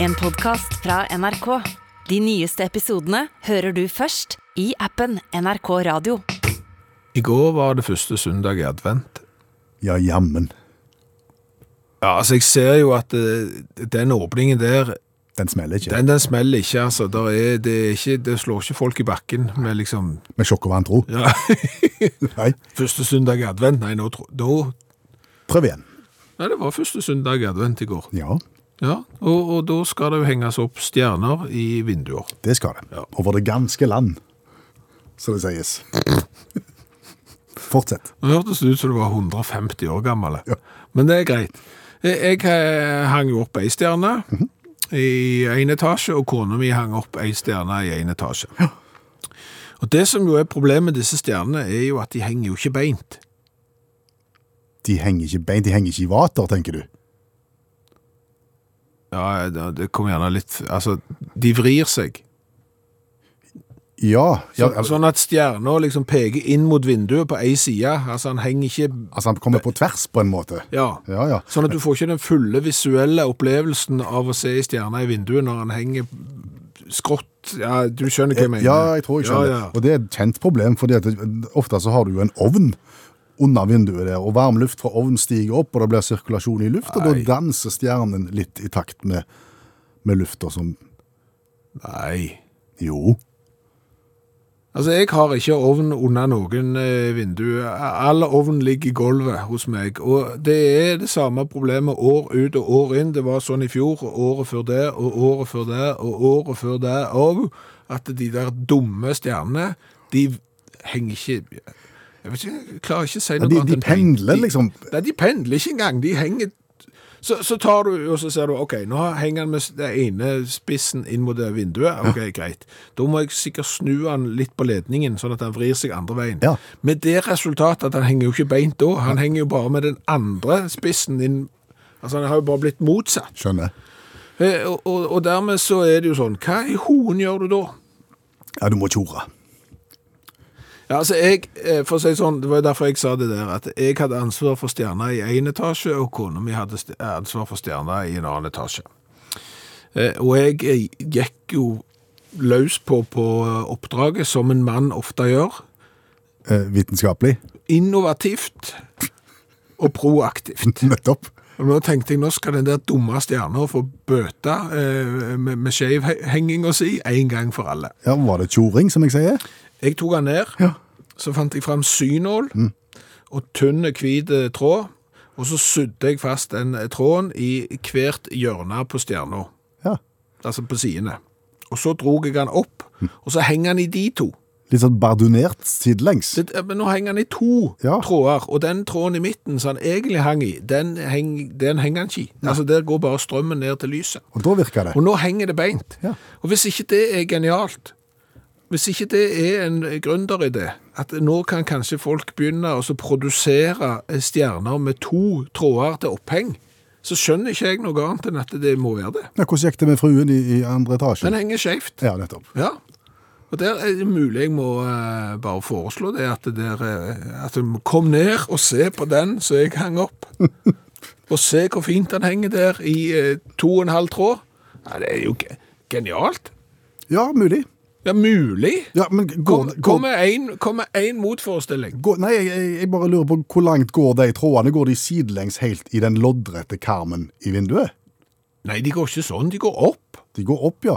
En podcast fra NRK. De nyeste episodene hører du først i appen NRK Radio. I går var det første søndag i advent. Ja, jammen. Ja, altså jeg ser jo at eh, den åpningen der, Den smeller ikke. den, den smeller ikke, altså. Der er, det, er ikke, det slår ikke folk i bakken med liksom Med sjokk og vantro. ja, Nei, Første søndag i advent, nei, nå, tro- da, prøv igjen. nei, det var første søndag i advent i går. Ja, Ja, og, og da skal det jo henges opp stjerner i vinduer. det skal det. Ja. Over det ganske land, som det sies. Fortsett. Nå hørtes det ut som du var 150 år gammel. Ja. Men det er greit. Jeg eh, hang jo opp ei stjerne Mhm. i én etasje, og kona mi hang opp ei stjerne i én etasje. Og Det som jo er problemet med disse stjernene, er jo at de henger jo ikke beint. De henger ikke bein, de henger ikke i vater, tenker du. Ja, det det kommer gjerne litt Altså, de vrir seg. Ja, ja altså- Så, sånn at stjerna liksom peker inn mot vinduet på ei side. Altså, han henger ikke altså han kommer på tvers på en måte. Ja. Ja, ja. Sånn at du får ikke den fulle visuelle opplevelsen av å se i stjerna i vinduet når han henger skrått. Ja, du skjønner hva jeg mener. Ja, jeg tror jeg skjønner. Ja, ja. Og det er et kjent problem, fordi at ofte så har du jo en ovn under vinduet der, og varm luft fra ovnen stiger opp, og det blir sirkulasjon i luft, og da Nei. danser stjernen litt i takt med, med lufta som Nei. Jo. Altså, jeg har ikke ovn under noen eh, vindu. All ovn ligger i gulvet hos meg. Og det er det samme problemet år ut og år inn. Det var sånn i fjor, og året før det, og året før det, og året før det òg. At de der dumme stjernene, de henger ikke Jeg vet ikke, jeg klarer ikke å si noe de- de enn beint. pendler De- liksom. Nei, de pendler ikke engang. De henger så, så tar du og så ser du, ok, nå henger han med den ene spissen inn mot det vinduet. Ok, greit. Da må jeg sikkert snu han litt på ledningen, sånn at han vrir seg andre veien. Ja. Med det resultatet at han henger jo ikke beint da, han henger jo bare med den andre spissen inn, altså han har jo bare blitt motsatt. Skjønner. Eh, Og, og, og dermed så er det jo sånn, hva i hoen gjør du da? Ja, du må tjore. Ja, altså jeg, eh, for å si det sånn, Det var jo derfor jeg sa det der, at jeg hadde ansvar for stjerna i én etasje, og kona mi hadde st- eh, ansvar for stjerna i en annen etasje. Eh, Og jeg eh, gikk jo løs på, på eh, oppdraget, som en mann ofte gjør. Eh, vitenskapelig. Innovativt og proaktivt. Nettopp. Og Nå tenkte jeg nå skal den der dumme stjerna få bøte eh, med, med skjevhenginga si en gang for alle. Ja, var det tjoring, som jeg sier? Jeg tok han ned, så fant jeg fram synål og tynne, hvite tråd, og så sydde jeg fast den tråden i hvert hjørne på stjerna, Ja. altså på sidene. Og så drog jeg han opp, og så henger han i de to. Litt sånn bardunert sidelengs. Det, eh, men nå henger han i to Ja. tråder, og den tråden i midten som han egentlig hang i, den, heng, den henger han ikke i. Altså, der går bare strømmen ned til lyset. Og da virker det. Og nå henger det beint. Ja. Og hvis ikke det er genialt, hvis ikke det er en gründeridé, at nå kan kanskje folk begynne å så produsere stjerner med to tråder til oppheng, så skjønner ikke jeg noe annet enn at det må være det. Ja, hvordan gikk det med fruen i, i andre etasje? Den henger skjevt. Ja, nettopp. Ja. Og der er det mulig jeg må eh, bare foreslå det, at, det der, eh, at du kom ned og se på den som jeg hang opp. og se hvor fint den henger der i eh, to og en halv tråd. Nei, det er jo ge- genialt. Ja, mulig. Det er mulig. Ja, men går, Kom, går, kom, med en, kom med en motforestilling. går, Nei, jeg, jeg- jeg bare lurer på hvor langt går de trådene? Går de sidelengs helt i den loddrette karmen i vinduet? Nei, de går ikke sånn. De går opp. De går opp, ja.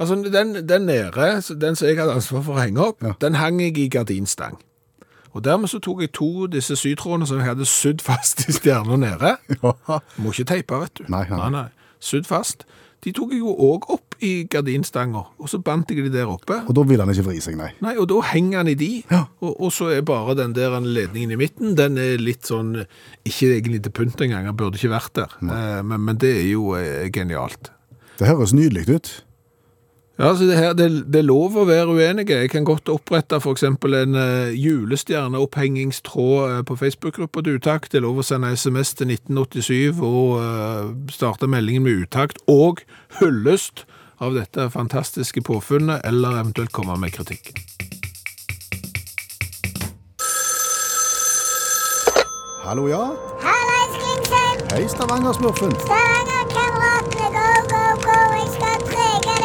Altså, den, den nede, så- den som jeg hadde ansvar for å henge opp, Ja. den hang jeg i gardinstang. Og dermed så tok jeg to av disse sytrådene som jeg hadde sydd fast i stjerna nede. ja. Må ikke teipe, vet du. Nei, nei. Sydd fast. De tok jeg jo òg opp i gardinstanger, og så bandt jeg de der oppe. Og da vil han ikke vri seg, nei. Nei, og da henger han i de, Ja. og, og så er bare den der ledningen i midten, den er litt sånn, ikke egentlig til pynt engang, han burde ikke vært der, eh, men, men det er jo eh, genialt. Det høres nydelig ut. Ja, altså det, her, det, det er lov å være uenige. Jeg kan godt opprette for eksempel en eh, julestjerneopphengingstråd eh, på Facebook-gruppa til utakt. Det er lov å sende sms til 1987 og eh, starte meldingen med utakt og hyllest av dette fantastiske påfunnet, eller eventuelt komme med kritikk. Hallo, ja. Hallais, Klingsheim! Hei, Stavanger-smurfen. Stavanger-kameratene, go, go, go!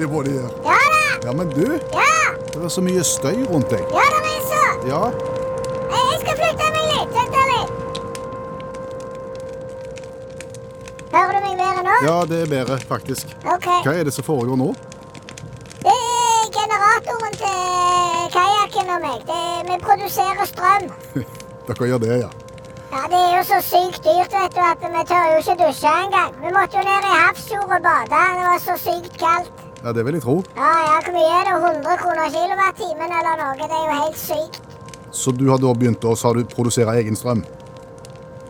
Det må de gjøre. Ja da! Ja, men du, Ja! det var så mye støy rundt deg. Ja da, men så! Ja, Jeg jeg skal flytte meg litt. Vent da litt. Hører du meg bedre nå? ja det er bedre, faktisk. Ok. Hva er det som foregår nå? Det er generatoren til kajakken og meg. Det, vi produserer strøm. Dere gjør det, ja. Ja, Det er jo så sykt dyrt vet du, at vi tør jo ikke dusje engang. Vi måtte jo ned i Hafrsfjord og bade. Det var så sykt kaldt. Ja, Det vil jeg tro. Ja, ja, Hvor mye er det? 100 kroner kilowattimen eller noe? Det er jo helt sykt. Så du har da begynt å sa du, produsere egen strøm?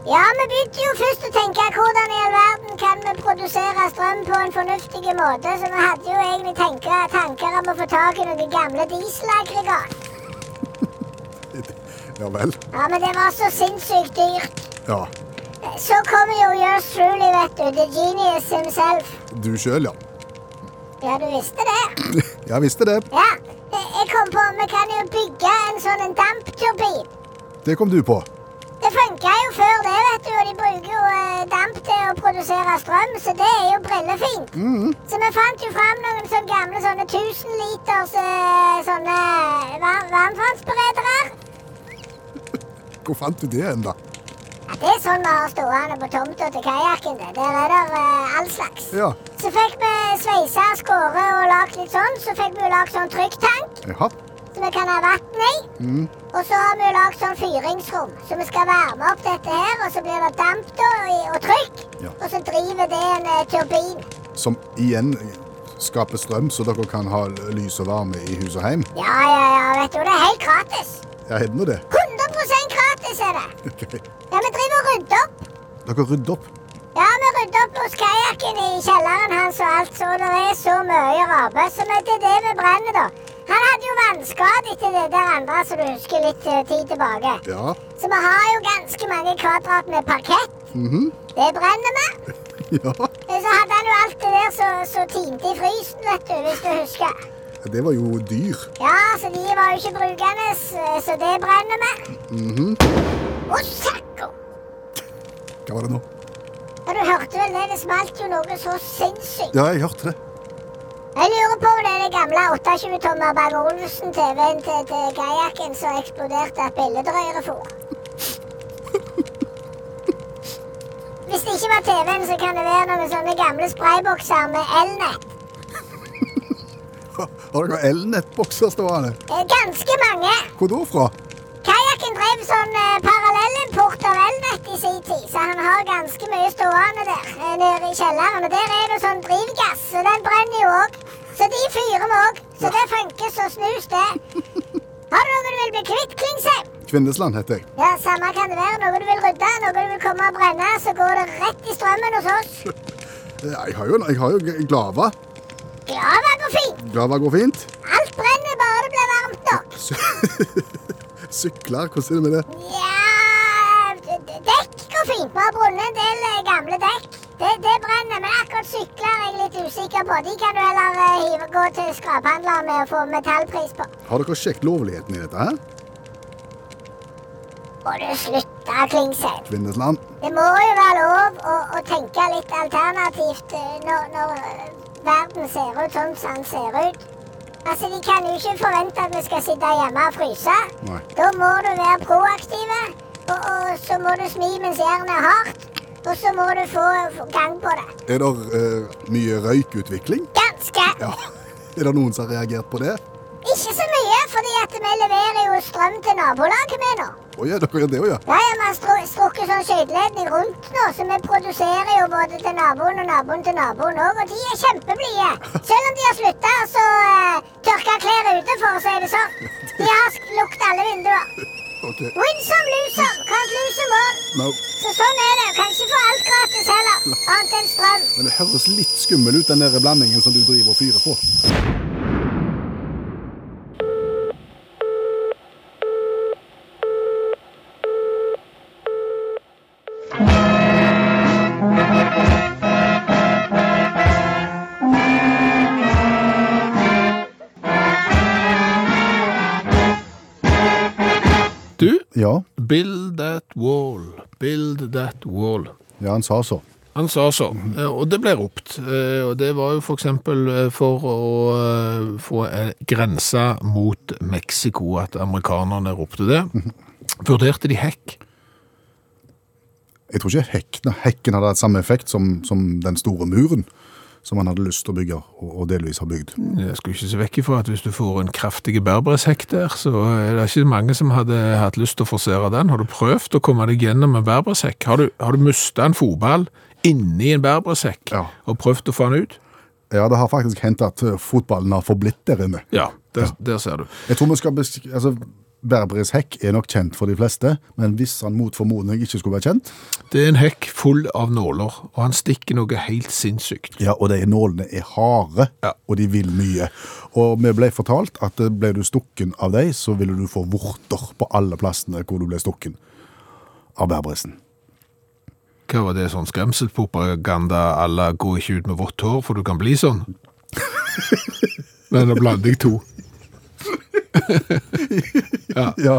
Ja, vi begynte jo først å tenke hvordan i all verden kan vi produsere strøm på en fornuftig måte, så vi hadde jo egentlig tenke, tanker om å få tak i noen gamle dieselaggregat. Ja vel. Ja, men det var så sinnssykt dyrt. Ja. Så kommer jo yours truly, vet du, the genius himself. Du sjøl, ja. Ja, du visste det? Jeg visste det. Ja. Jeg jeg kom på, vi kan jo bygge en sånn en dampturbin. Det kom du på. Det funka jo før det, vet du, og de bruker jo eh, damp til å produsere strøm, så det er jo brillefint. Så vi fant jo fram noen sånne gamle sånne 1000 liters eh, sånne var varmtvannsberedere. Hvor fant du det hen, da? Ja, det er sånn vi har stående på tomta til kajakken. det. Der er det eh, all slags. Ja. Så fikk vi sveisa, skåret og lagd litt sånn. Så fikk vi jo lagd sånn trykktank Jaha. som vi kan ha vann i. Og så har vi jo lagd sånn fyringsrom, så vi skal varme opp dette her. Og så blir det damp da, i- og trykk. Ja. Og så driver det en eh, turbin. Som igjen skaper strøm, så dere kan ha lys og varme i hus og hjem. Ja, ja, ja, vet du. Det er helt gratis. Jeg er nå det. 100 gratis er det. Ok. Ja, vi driver og rydder opp. Dere rydder opp. Ja, vi rydder opp hos kajakken i kjelleren hans og alt, så det er så mye rabe. Så vi- det er det vi brenner, da. Han hadde jo vannskade etter det der andre, som du husker litt eh, tid tilbake. Ja. Så vi har jo ganske mange kvadrat med parkett. Det brenner vi. Ja. Men Så hadde han jo alt det der som som tinte i frysen, vet du, hvis du husker. Det var jo dyr. Ja, så de var jo ikke brukende, s- så det brenner vi. Og sakko! Hva var det nå? Ja, du hørte vel det? Det smalt jo noe så sinnssykt. Ja, jeg hørte det. Jeg lurer på om det er den gamle 28-tommer Bang Olufsen-TV-en til, til kajakken som eksploderte et billedrøyre for. Hvis det ikke var TV-en, så kan det være noen sånne gamle spraybokser med elnett. Har dere elnettbokser stående? Eh, Ganske mange. Hvor da fra? Kajakken drev sånn eh, parallellimport av elnett i sin tid, så han har ganske mye stående der eh, nede i kjelleren. Og der er det sånn drivgass, så den brenner jo òg. Så de fyrer vi òg. Så det funker så snus, det. Har du noe du vil bli kvitt, Klingsheim? Kvinnesland heter jeg. Ja, samme kan det være. Noe du vil rydde, noe du vil komme og brenne, så går det rett i strømmen hos oss. Ja, Eh, Jeg har jo, jeg har jo G- Glava. Glava går fint. Glava går fint. Alt brenner bare det blir varmt nok. Sy Sykler, hvordan er det med det? Ja d- d- Dekk går fint. Vi har brunnet en del eh, gamle dekk. Det, det brenner, men akkurat sykler er jeg litt usikker på. De kan du heller eh, hive, gå til skraphandler med og få metallpris på. Har dere sjekket lovligheten i dette her? Og du slutter, Klingsheim. Kvinnesland. Det må jo være lov å, å tenke litt alternativt eh, når, når eh, verden ser ut sånn som den ser ut. Altså, De kan jo ikke forvente at vi skal sitte hjemme og fryse. Nei. Da må du være proaktive, og, og så må du smi mens jernet er hardt. Og så må du få få gang på det. Er det eh, mye røykutvikling? Ganske. Ja. Er det noen som har reagert på det? Ikke så mye, fordi at vi leverer jo strøm til nabolaget vi nå. Å ja, dere gjør det òg, ja. Ja, ja, Vi har stru- strukket sånn skøyteledning rundt nå, så vi produserer jo både til naboen og naboen til naboen òg. Og de er kjempeblide. Selv om de har slutta å så, eh, tørke klær ute, for å si det sånn. De har sk- lukket alle vinduer. Ok. Win som loser, can't lose them all. No. Så sånn er det. Kan ikke få alt gratis heller, annet enn strøm. Men det høres litt skummel ut, den der blandingen som du driver og fyrer på. Du, Ja, build that wall, build that wall. ja han sa så. Han sa så, eh, og det ble ropt. Eh, Og det var jo for eksempel eh, for å eh, få eh, grensa mot Mexico, at amerikanerne ropte det. Vurderte de hekk? Jeg tror ikke hekken, hekken hadde hatt samme effekt som, som den store muren som han hadde lyst til å bygge, og, og delvis har bygd. Jeg skulle ikke se vekk ifra at hvis du får en kraftig berbereshekk der, så er det ikke mange som hadde hatt lyst til å forsere den. Har du prøvd å komme deg gjennom en berbereshekk? Har du, har du mista en fotball inni en berbereshekk Ja. og prøvd å få den ut? Ja, det har faktisk hendt at eh, fotballen har forblitt der inne. Ja, der, der ser du. Jeg tror vi skal besk... Altså, Berberis hekk er nok kjent for de fleste, men hvis han mot formodning ikke skulle være kjent, Det er en hekk full av nåler, og han stikker noe helt sinnssykt. ja, og de nålene er harde, Ja. og de vil mye. Og vi ble fortalt at eh, ble du stukken av dem, så ville du få vorter på alle plassene hvor du ble stukken av berberisen. Hva var det sånn skremselspropaganda Alla gå ikke ut med vått hår, for du kan bli sånn? Men da blander jeg to. Ja,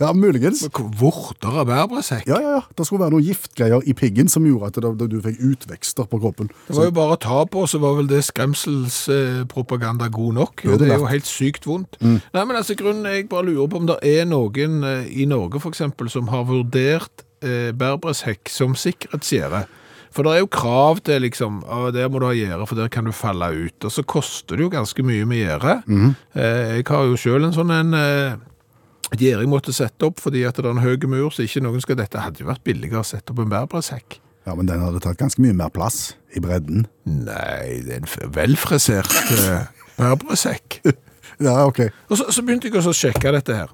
ja muligens. Vorter av berbersekk. Ja, ja, ja. Det skulle være noen giftgreier i piggen som gjorde at det- du fikk utvekster på kroppen. Det var jo bare å ta på, så var vel det skremselspropaganda god nok. Og Burde det er jo vært. Mm. helt sykt vondt. Nei, men altså, grunnen er jeg bare lurer på om det er noen eh, i Norge, for eksempel, som har vurdert eh, berbershekk som sikkerhetsgjerde. For det er jo krav til liksom, ah, der må du ha gjerde, for der kan du falle ut. Og så koster det jo ganske mye med gjerde. Mhm. Eh, jeg har jo selv en sånn en... Eh, Gjerde jeg måtte sette opp fordi at det er en høy mur, så ikke noen skal dette. hadde jo vært billigere å sette opp en berbershekk. Ja, men den hadde tatt ganske mye mer plass i bredden. Nei, det er en f- velfrisert eh, berbersekk. Ja, ok. Og så, så begynte jeg også å sjekke dette her.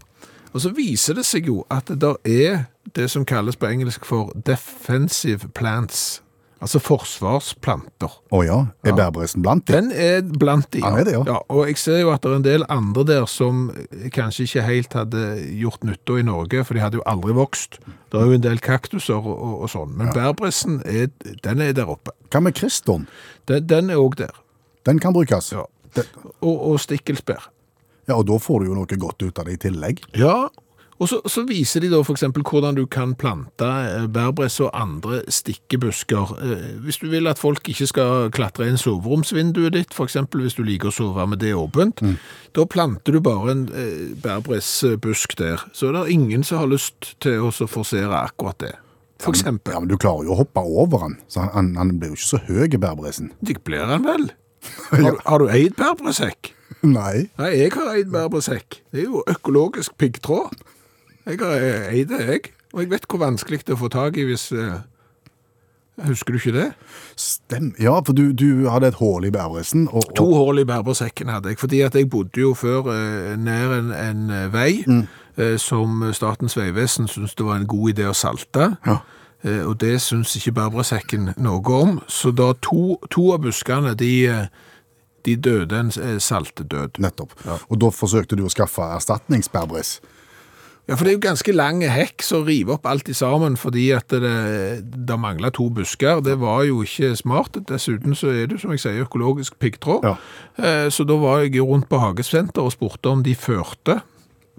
Og så viser det seg jo at det der er det som kalles på engelsk for defensive plants. Altså forsvarsplanter. Å ja, er berberisen blant Den dem? er blant de. Han er det, ja. Og jeg ser jo at det er en del andre der som eh, kanskje ikke helt hadde gjort nytte i Norge, for de hadde jo aldri vokst. Det er jo en del kaktuser og, og, og sånn. Men bærbrisen, er, den er der oppe. Hva med kriston? Den, den er òg der. Den kan brukes. Ja. Den, Og, og stikkelsbær. ja, og da får du jo noe godt ut av det i tillegg. Ja, og så, så viser de da for eksempel hvordan du kan plante eh, bærbress og andre stikkebusker. Eh, Hvis du vil at folk ikke skal klatre inn soveromsvinduet ditt, for eksempel hvis du liker å sove med det åpent, Mm. da planter du bare en eh, bærbressbusk der. Så er det ingen som har lyst til å så forsere akkurat det. For eksempel. Ja, men du klarer jo å hoppe over han, så han, han, han blir jo ikke så høy i berberisen. Det blir han vel? Har, har du eid bærbressekk? Nei. Nei, jeg har eid bærbresekk. Det er jo økologisk piggtråd. Jeg har eh, eid det, jeg. Og jeg vet hvor vanskelig det er å få tak i hvis eh, Husker du ikke det? Stem. Ja, for du, du hadde et hål i berberisen. Og, To og, hull i bærbresekken hadde jeg, fordi at jeg bodde jo før eh, nær en, en eh, vei eh, som Statens vegvesen syntes det var en god idé å salte. Ja. Eh, og det syns ikke bærbresekken noe om. Så da to, to av buskene, de, eh, de døde en eh, saltedød. Nettopp. Og da forsøkte du å skaffe erstatningsberberis. Ja, for det er jo ganske lang hekk som river opp alt i sammen, fordi at det, det manglet to busker. Det var jo ikke smart. Dessuten så er det, jo, som jeg sier, økologisk piggtråd. Ja. Eh, Så da var jeg jo rundt på hagesenter og spurte om de førte.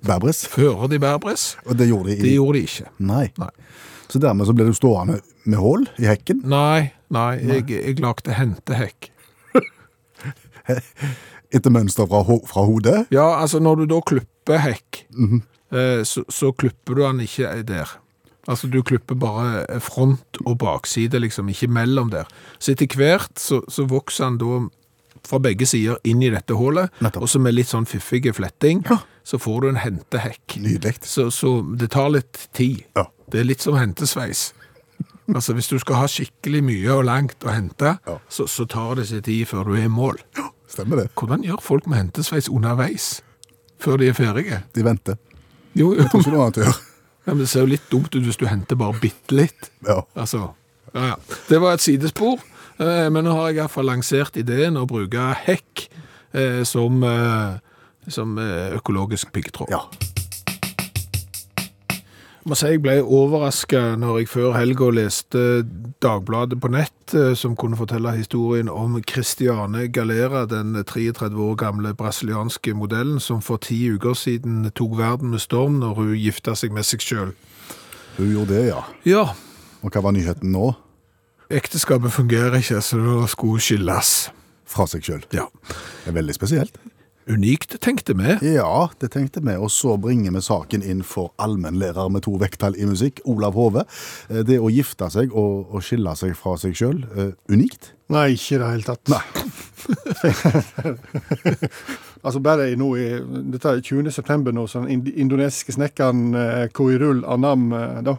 Berberis. Fører de bærbress? Og det gjorde de i Det gjorde de ikke. Nei. Nei. Så dermed så ble du stående med hull i hekken. Nei, nei, jeg, jeg lagde hentehekk. Etter mønster fra, ho fra hodet. Ja, altså når du da klipper hekk, Mhm. eh, så, så klipper du den ikke der. Altså du klipper bare eh, front og bakside, liksom, ikke mellom der. Så etter hvert så, så vokser den da fra begge sider inn i dette hålet, Nettopp. og så med litt sånn fiffige fletting, så får du en hentehekk. Nydelig. Så, så det tar litt tid. Ja. Det er litt som hentesveis. Altså hvis du skal ha skikkelig mye og langt å hente, Ja. så, så tar det sin tid før du er i mål. Stemmer det. Hvordan gjør folk med hentesveis underveis? Før de er ferdige? De venter. Jo, jo. Tror ikke noe annet å gjøre. Ja, men det ser jo litt dumt ut hvis du henter bare bitte litt. Ja. Altså, ja, ja. Det var et sidespor, eh, men nå har jeg i hvert fall lansert ideen å bruke hekk eh, som, eh, som eh, økologisk piggtråd. ja. Jeg må si jeg ble overrasket når jeg før helga leste Dagbladet på nett, eh, som kunne fortelle historien om Christiane Galera, den 33 år gamle brasilianske modellen som for ti uker siden tok verden med storm når hun gifta seg med seg sjøl. Hun gjorde det, ja. Ja, Og hva var nyheten nå? Ekteskapet fungerer ikke, så det skulle skilles. fra seg sjøl. Ja. Det er veldig spesielt. Unikt, tenkte vi. Ja, det tenkte vi. Og så bringer vi saken inn for allmennlærer med to vekttall i musikk, Olav Hove. Eh, Det å gifte seg og, og skille seg fra seg sjøl, unikt. Nei, ikke i det hele tatt. altså bare i nå i dette er 20. september nå, så den ind- indonesiske snekkeren eh, Koirul Anam, eh, da,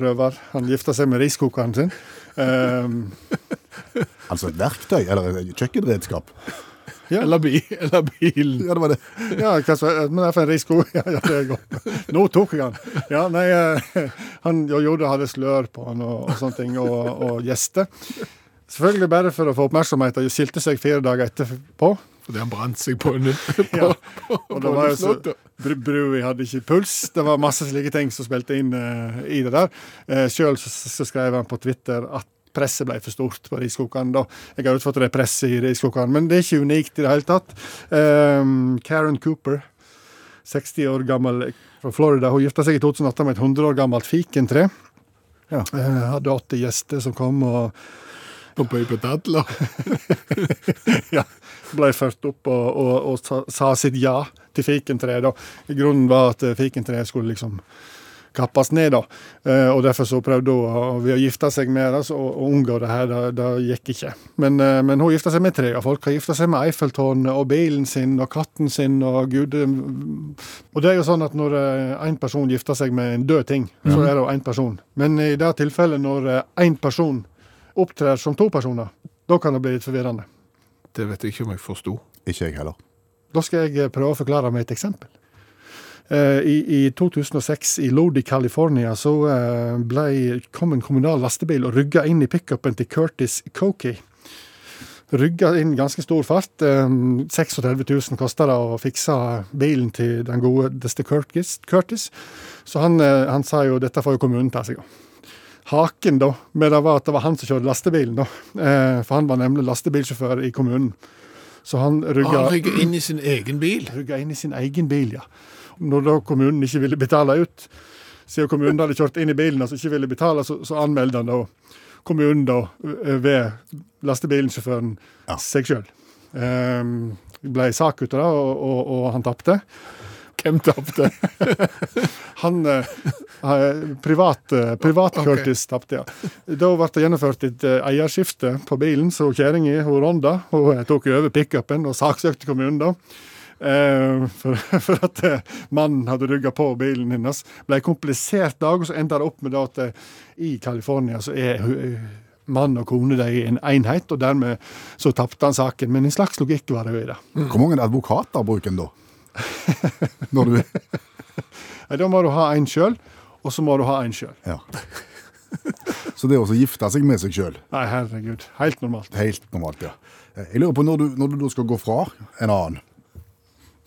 røver, han gifta seg med riskokeren sin. Ehm, Altså et verktøy, eller et kjøkkenredskap. ja. Eller, bi, eller bilen. Ja, det var det. Ja, hva så, men det er for en risko. Ja, ja, det er godt. Nå tok jeg han. Ja, nei, eh, han og Jode hadde slør på han og, og sånne ting, og, og gjester. Selvfølgelig bare for å få oppmerksomhet, og skilte seg fire dager etterpå. Fordi han brant seg på en Ja. Og det var jo så, Bollesnott, Bru- Brui hadde ikke puls. Det var masse slike ting som spilte inn eh, i det der. Uh, Sjøl så, så skrev han på Twitter at presset ble for stort på Riskokeren. da. Jeg har utfordret det er presset i Riskokeren, men det er ikke unikt i det hele tatt. Ehm, Karen Cooper, 60 år gammel fra Florida, hun gifta seg i 2008 med et 100 år gammelt fikentre. Ja. Eh, hadde 80 gjester som kom, og Og bøy på dadler. ja, ble ført opp og, og, og sa, sa sitt ja til fikentreet. da. Grunnen var at eh, fikentreet skulle liksom kappes ned, da. Eh, og derfor så prøvde hun å- ved å gifte seg med oss og, og unngå det her. Det, det gikk ikke. Men, eh, men hun gifta seg med tre av folk. Hun gifta seg med Eiffeltårnet og bilen sin og katten sin og gud eh, Og det er jo sånn at når én person gifter seg med en død ting, så er det jo én person. Men i det tilfellet når én person opptrer som to personer, da kan det bli litt forvirrende. Det vet jeg ikke om jeg forsto. Ikke jeg heller. Da skal jeg eh, prøve å forklare med et eksempel. Eh, I, i 2006 i Lodi, California, så eh, ble, kom en kommunal lastebil og rygga inn i pickupen til Curtis Cokie. Rygga inn i ganske stor fart. eh, 36 000 kosta det å fikse bilen til den godeste Curtis. Curtis. Så han, eh, han sa jo dette får jo kommunen ta seg av. Haken da, med det var at det var han som kjørte lastebilen, da. Eh, For han var nemlig lastebilsjåfør i kommunen. Så han rygga Han rygger inn i sin egen bil. rygga inn i sin egen bil, ja. Når da kommunen ikke ville betale ut, siden kommunen hadde kjørt inn i bilen og altså ikke ville betale, så, så anmeldte han da kommunen da ø- ved lastebilsjåføren Ja. seg sjøl. Ehm, det ble sak ut av det, og, og, og han tapte. Hvem tapte? Han eh, eh, Privat, eh, privat Curtis tapte, ja. Da ble det gjennomført et eh, eierskifte på bilen, så kjerringa, hun Ronda, hun eh, tok over pickupen og saksøkte kommunen, da. Eh, for, for at eh, mannen hadde rygga på bilen hennes. Ble en komplisert dag, og så endte det opp med det at eh, i California så er hu- eh, mann og kone de en enhet, og dermed så tapte han saken. Men en slags logikk var det jo i det. Hvor mange advokater bruker en da? Når du Nei, Da må du ha en sjøl, og så må du ha en sjøl. Ja. Så det å så gifte seg med seg sjøl, Nei, herregud. Helt normalt. helt normalt, ja. Eh, Jeg lurer på når du, når du da skal gå fra en annen,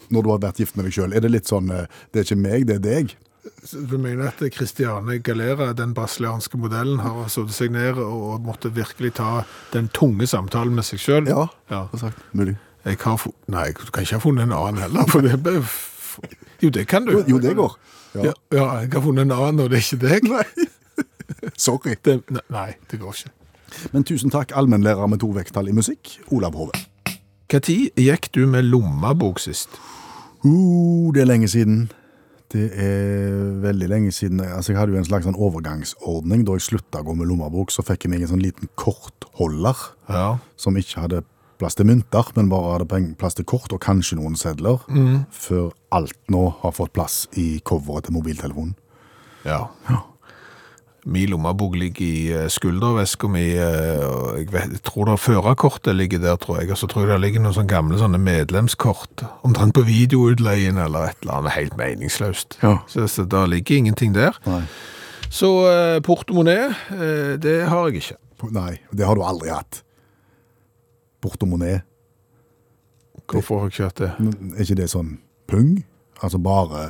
når du har vært gift med deg sjøl, er det litt sånn eh, Det er ikke meg, det er deg. Du mener at Christiane Galera, den brasilianske modellen, har satt seg ned og måtte virkelig ta den tunge samtalen med seg sjøl? Ja, sagt. Mulig. Jeg har fu- Nei, du kan ikke ha funnet en annen heller. For det ble... f- Jo, det kan du. Jo, det går. Ja. Ja. ja, jeg har funnet en annen, og det er ikke deg. Nei, Sorry. det, ne- nei, det går ikke. Men tusen takk, allmennlærer med to vekttall i musikk, Olav Hove. Når gikk du med lommebok sist? Uh, det er lenge siden. Det er veldig lenge siden. Altså, jeg hadde jo en slags sånn overgangsordning. Da jeg slutta å gå med lommebok, så fikk jeg meg en sånn liten kortholder eh, Ja. som ikke hadde plass til mynter, men bare hadde peng- plass til kort og kanskje noen sedler. Før alt nå har fått plass i coveret til mobiltelefonen. Ja. Min lommebok ligger i eh, skulderveska mi. eh, og Jeg, vet, jeg tror det er førerkortet ligger der, tror jeg. Og så tror jeg det ligger noen sånne gamle sånne medlemskort. Omtrent på videoutleien eller et eller annet helt meningsløst. Ja. Så, så det ligger ingenting der. Nei. Så eh, portemonnaie, eh, det har jeg ikke. Nei, det har du aldri hatt. Portemonnaie, Hvorfor har jeg ikke hatt det? er ikke det sånn pung? Altså bare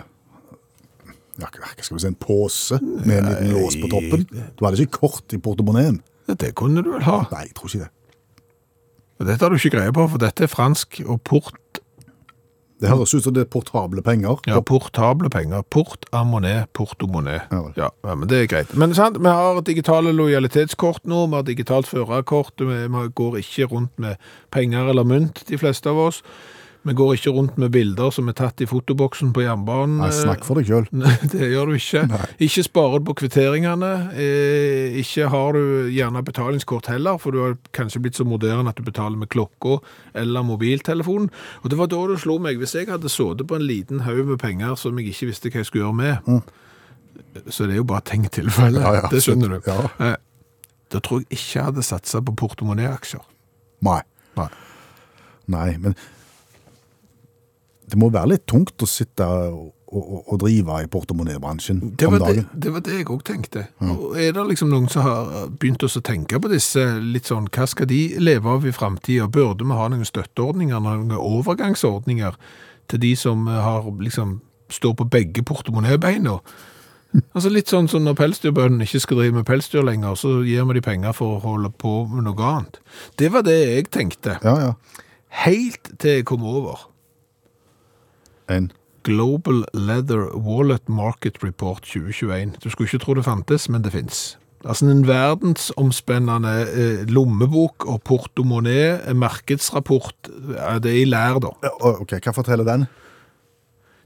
ja, hva skal vi si, en pose med en liten lås på toppen? Du hadde ikke kort i portemonnaien? Det kunne du vel ha. Nei, jeg tror ikke det. Dette har du ikke greie på, for dette er fransk, og port Det høres ut som det er portable penger. Ja, portable penger. Portamoné, portomoné. Ja vel. Ja, ja, men det er greit. Men sant, vi har digitale lojalitetskort nå, vi har digitalt førerkort, vi vi går ikke rundt med penger eller mynt, de fleste av oss. Vi går ikke rundt med bilder som er tatt i fotoboksen på jernbanen. Nei, snakk for deg sjøl. Nei, det gjør du ikke. Ikke sparer du på kvitteringene. Eh, ikke har du gjerne betalingskort heller, for du har kanskje blitt så moderne at du betaler med klokka eller mobiltelefonen. Og det var da du slo meg. Hvis jeg hadde sittet på en liten haug med penger som jeg ikke visste hva jeg skulle gjøre med, så det er jo bare tenkt tilfelle. Mm. Ja, ja, det skjønner du. absolutt. Eh, Da tror jeg ikke jeg hadde satsa på portemonnaie-aksjer. Nei. Nei. Nei, men det må være litt tungt å sitte og, og, og drive i portemonneebransjen Det om var det, dagen. det var det jeg òg tenkte. Og Er det liksom noen som har begynt også å tenke på disse litt sånn Hva skal de leve av i framtida? Burde vi ha noen støtteordninger, noen overgangsordninger til de som har liksom står på begge portemonnebeina? Altså Litt sånn som når pelsdyrbøndene ikke skal drive med pelsdyr lenger, så gir vi de penger for å holde på med noe annet. Det var det jeg tenkte, Ja, ja. helt til jeg kom over. En. Global Leather Wallet Market Report 2021. Du skulle ikke tro det fantes, men det fins. Altså en verdensomspennende eh, lommebok og portemonnaie, eh, markedsrapport, eh, det er i lær da. Ja, Ok, hva forteller den?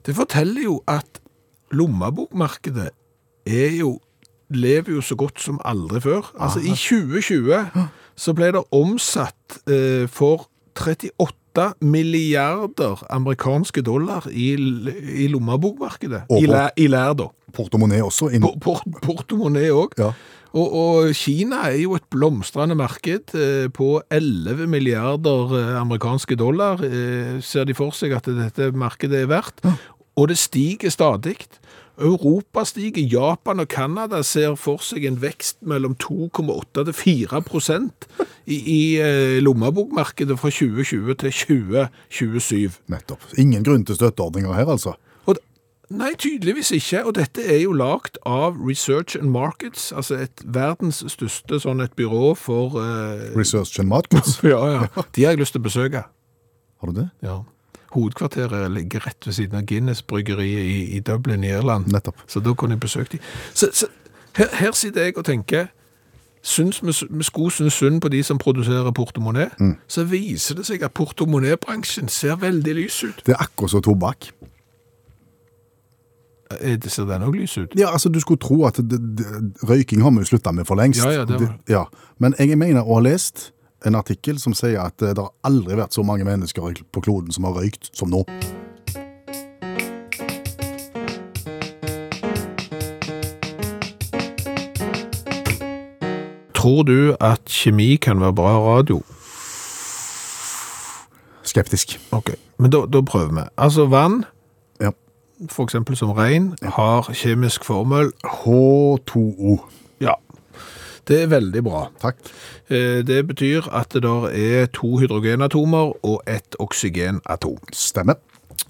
Det forteller jo at lommebokmarkedet er jo lever jo så godt som aldri før. Altså Ah. i 2020 så ble det omsatt eh, for 38 milliarder amerikanske dollar i, l- i lommebokmarkedet. Og I, på- lær, I lær, da. Portemonnaie også? Inn... Por- por- Portemonnaie òg. Ja. Og, og Kina er jo et blomstrende marked eh, på 11 milliarder eh, amerikanske dollar, eh, ser de for seg at dette markedet er verdt. Og det stiger stadig. Europa stiger, Japan og Canada ser for seg en vekst mellom 2,8 til 4 prosent i, i eh, lommebokmarkedet fra 2020 til 2027. Nettopp. Ingen grunn til støtteordninger her, altså. Og, d- nei, tydeligvis ikke. Og dette er jo lagd av Research and Markets, altså et verdens største sånn et byrå for eh, Research and Markets. Ja, ja. De har jeg lyst til å besøke. Har du det? Ja. Hovedkvarteret ligger rett ved siden av Guinness-bryggeriet i, i Dublin i Irland. Nettopp. Så da kunne jeg besøkt de. Så, så her, her sitter jeg og tenker Syns vi, vi skulle synes synd på de som produserer portemonnaie, så viser det seg at portemonnaiebransjen ser veldig lys ut. Det er akkurat som tobakk. Eh, Ser den òg lys ut? Ja, altså Du skulle tro at det, det, røyking har vi jo slutta med for lengst. Ja, ja, det var- ja. Men jeg mener å ha lest en artikkel som sier at eh, det har aldri vært så mange mennesker på kloden som har røykt som nå. Tror du at kjemi kan være bra radio? Skeptisk. Ok, men da, da prøver vi. Altså vann, Ja. for eksempel som regn, har kjemisk formel. H2O. Ja, det er veldig bra. Takk. Eh, Det betyr at det der er to hydrogenatomer og ett oksygenatom. Stemmer.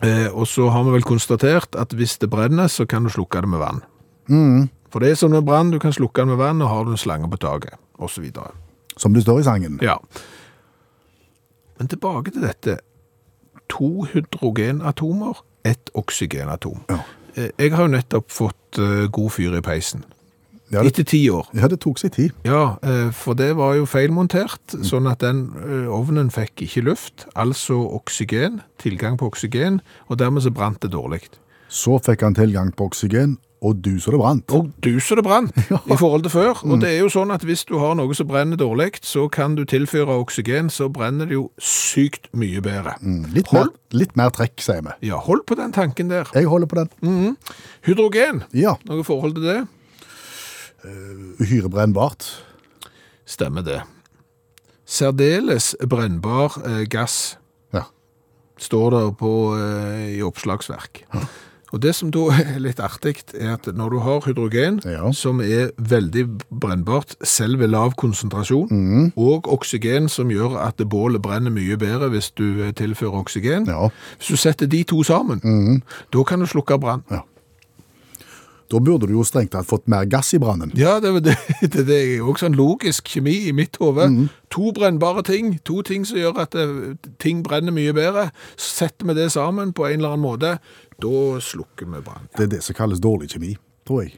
Eh, Og så har vi vel konstatert at hvis det brenner, så kan du slukke det med vann. For det er som med brann, du kan slukke den med vann, og har du en slange på taket, og så videre. Som det står i sangen. Ja. Men tilbake til dette. To hydrogenatomer, ett oksygenatom. Ja. Eh, Jeg har jo nettopp fått eh, god fyr i peisen. Ja, det, Etter ti år. ja, det tok sin tid. Ja, eh, for det var jo feilmontert, Mm. sånn at den eh, ovnen fikk ikke luft, altså oksygen, tilgang på oksygen, og dermed så brant det dårlig. Så fikk han tilgang på oksygen, og du så det brant. Og du så det brant i forhold til før. Mm. Og det er jo sånn at hvis du har noe som brenner dårlig, så kan du tilføre oksygen, så brenner det jo sykt mye bedre. Litt mer, Hold- litt mer trekk, sier vi. Ja, hold på den tanken der. Jeg holder på Mm. den. Hydrogen, Ja. noe forhold til det? Uhyre brennbart. Stemmer det. Særdeles brennbar eh, gass, Ja. står det på, eh, i oppslagsverk. Og det som da er litt artig, er at når du har hydrogen, Ja. som er veldig brennbart, selv ved lav konsentrasjon, Mhm. og oksygen som gjør at bålet brenner mye bedre hvis du eh, tilfører oksygen, ja. Mhm. hvis du setter de to sammen, da kan du slukke brann. Ja. Da burde du jo strengt tatt fått mer gass i brannen. Ja, det, var det, det, det er jo også sånn logisk kjemi i mitt hode. Mm. To brennbare ting, to ting som gjør at eh, ting brenner mye bedre. Setter vi det sammen på en eller annen måte, da slukker vi brann. Det er det som kalles dårlig kjemi, tror jeg.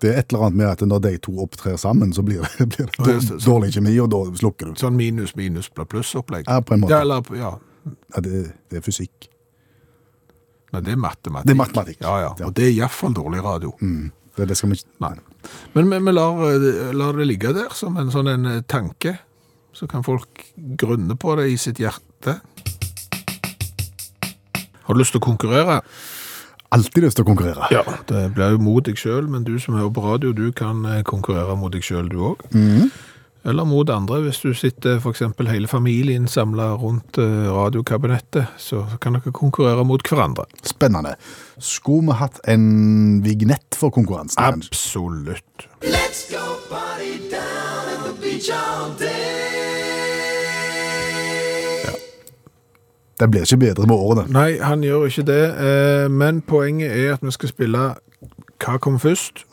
Det er et eller annet med at når de to opptrer sammen, så blir det, blir det Ja, så- så- dårlig kjemi, og da slukker du. Sånn minus, minus, bla- pluss-opplegg. Ja, på en måte. Ja, eller, ja. Ja, det, det er fysikk. Nei, det er matematikk. Det er matematikk. Mm. Ja, ja. Og det er iallfall dårlig radio. Det, det skal vi ikke Nei. Men vi- vi lar, eh, lar det ligge der som en sånn en eh, tanke. Så kan folk grunne på det i sitt hjerte. Har du lyst til å konkurrere? alltid lyst til å konkurrere. Ja. Det blir jo mot deg sjøl, men du som hører på radio, du kan eh, konkurrere mot deg sjøl, du òg. Eller mot andre. Hvis du sitter f.eks. hele familien samla rundt eh, radiokabinettet, så kan dere konkurrere mot hverandre. Spennende. Skulle vi hatt en vignett for konkurransen? kanskje? Absolutt. Let's go party down at the beach all day. Det blir ikke bedre med årene. Nei, han gjør ikke det. eh, Men poenget er at vi skal spille Hva kom først?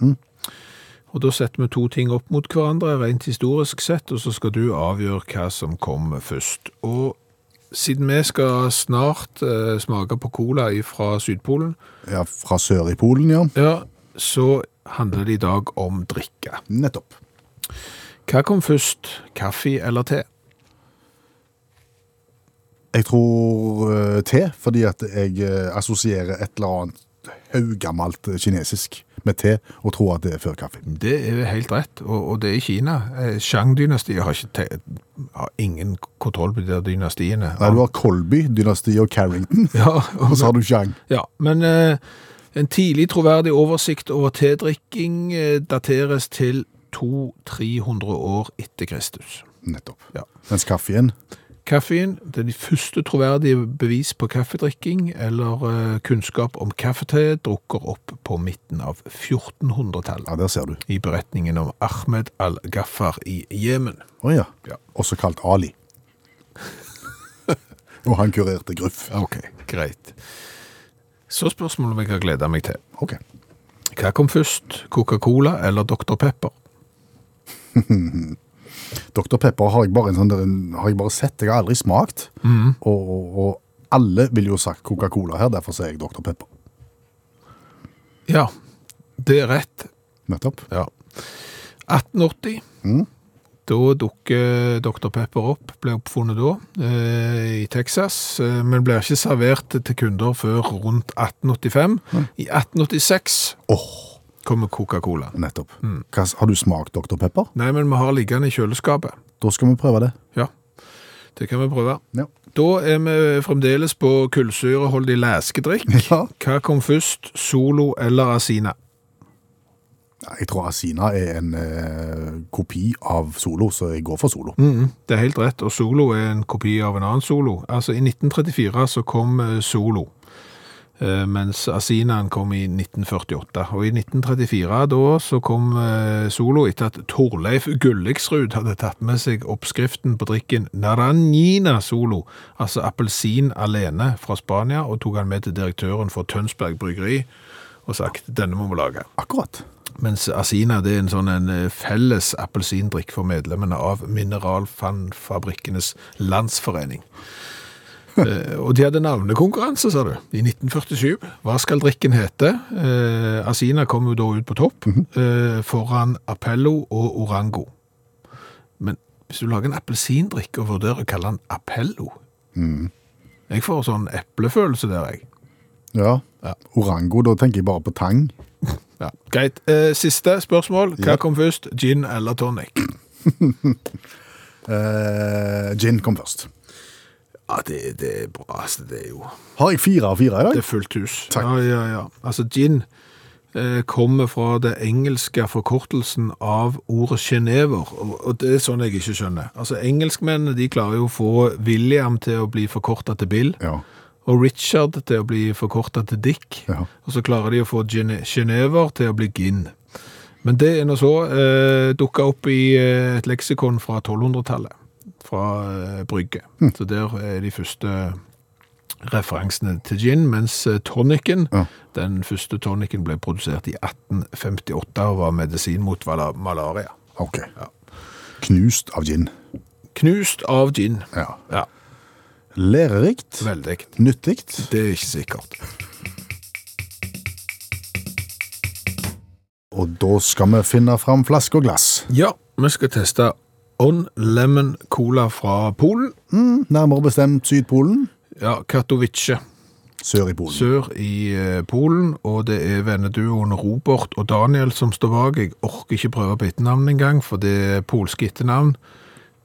Og da setter vi to ting opp mot hverandre, rent historisk sett, og så skal du avgjøre hva som kom først. Og siden vi skal snart eh, smake på cola fra Sydpolen, Ja, Fra sør i Polen, ja. ja, så handler det i dag om drikke. Nettopp. Hva kom først? Kaffe eller te? Jeg tror eh, te, fordi at jeg eh, assosierer et eller annet haugammalt kinesisk med te, og tror at det er før kaffe. Det er helt rett, og, og det er Kina. Eh, Shang-dynastiet har, ikke te- har ingen kontroll på de der dynastiene. Nei, du har Colby, dynastiet og Carrington, Ja, og og, så har du Chang. ja men eh, en tidlig troverdig oversikt over tedrikking eh, dateres til 200-300 år etter Kristus. Nettopp. Ja. Mens kaffen Kaffeen det er de første troverdige bevis på kaffedrikking eller eh, kunnskap om kaffete drukker opp på midten av 1400-tallet Ja, der ser du. i beretningen om Ahmed al-Ghaffar i Jemen. Å ja. Ja. Også kalt Ali. og han kurerte gruff. Ok, greit. Så spørsmålet om jeg har gledet meg til. Ok. Hva kom først, Coca-Cola eller Dr. Pepper? Dr. Pepper har jeg bare, en sånn, der- en- har jeg bare sett, jeg har aldri smakt. Og, og, og alle ville jo sagt Coca-Cola her, derfor sier jeg Dr. Pepper. Ja, det er rett. Nettopp. Ja. 1880, da dukker Dr. Pepper opp, ble oppfunnet da, eh, i Texas, eh, men ble ikke servert til kunder før rundt 1885. I 1886 Åh, Mm. kommer Coca-Cola. nettopp. Hva, har du smakt Dr. Pepper? Nei, men vi har liggende i kjøleskapet. Da skal vi prøve det. Ja, det kan vi prøve. Ja. Da er vi fremdeles på kullsyreholdig læskedrikk. Ja. Hva kom først, Solo eller Asina? Jeg tror Asina er en eh, kopi av Solo, så jeg går for Solo. Det er helt rett, og Solo er en kopi av en annen Solo. Altså, i 1934 så kom eh, Solo, eh, mens Asinaen kom i 1948. Og i 1934 da så kom eh, Solo etter at Torleif Gulliksrud hadde tatt med seg oppskriften på drikken Naranjina Solo, altså appelsin alene fra Spania, og tok han med til direktøren for Tønsberg Bryggeri og sagt, denne må vi lage. Akkurat. Mens Asina det er en sånn en eh, felles appelsindrikk for medlemmene av Mineralfannfabrikkenes landsforening. Eh, og de hadde navnekonkurranse, sa du, i 1947. Hva skal drikken hete? Eh, Asina kom jo da ut på topp, eh, foran Apello og Orango. Men hvis du lager en appelsindrikk og vurderer å kalle den Apello Jeg får sånn eplefølelse der, jeg. Ja. Orango, da tenker jeg bare på tang. Ja. Greit. Eh, siste spørsmål. Hva Ja. kom først, gin eller tonic? Eh, gin kom først. Ja, det, det er bra. Altså, det er jo Har jeg fire av fire i Det dag? er fullt hus. Takk. Ja, ja, ja. Altså, gin eh, kommer fra det engelske forkortelsen av ordet genever, og, og det er sånn jeg ikke skjønner. Altså, Engelskmennene de klarer jo å få William til å bli forkorta til Bill, Ja. og Richard til å bli forkorta til Dick, Ja. og så klarer de å få gene genever til å bli gin. Men det er nå så eh, dukka opp i eh, et leksikon Hm. fra 1200-tallet, fra eh, Brygge. Så der er de første referansene til gin, mens eh, tonicen, Ja. den første tonicen, ble produsert i 1858 og var medisin mot vala- malaria. Ok. Knust av gin. Knust av gin. Ja. Ja, Lærerikt. veldig. Nyttig. Det er ikke sikkert. Og da skal vi finne fram flaske og glass. Ja, vi skal teste On Lemon Cola fra Polen. Mm, nærmere bestemt Sydpolen. Ja, Katowice. Sør i Polen. Sør i eh, Polen, og det er venneduoen Robert og Daniel som står bak. Jeg orker ikke prøve på etternavn engang, for det er polske etternavn.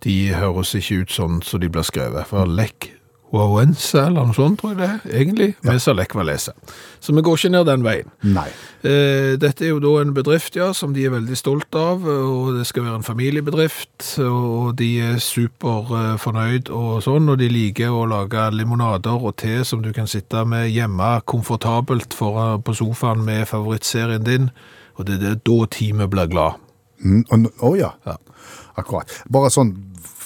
De høres ikke ut sånn som de blir skrevet. For Lech Wałęsa eller noe sånt, tror jeg det er, egentlig. Vi sa Lech Walesa. Så vi går ikke ned den veien. Nei. Eh, Dette er jo da en bedrift, ja, som de er veldig stolt av, og det skal være en familiebedrift, og de er super eh, fornøyd og sånn, og de liker å lage limonader og te som du kan sitte med hjemme komfortabelt foran på sofaen med favorittserien din, og det er det- da teamet blir glad. Mm, og n- Å ja. Ja. Akkurat. Bare sånn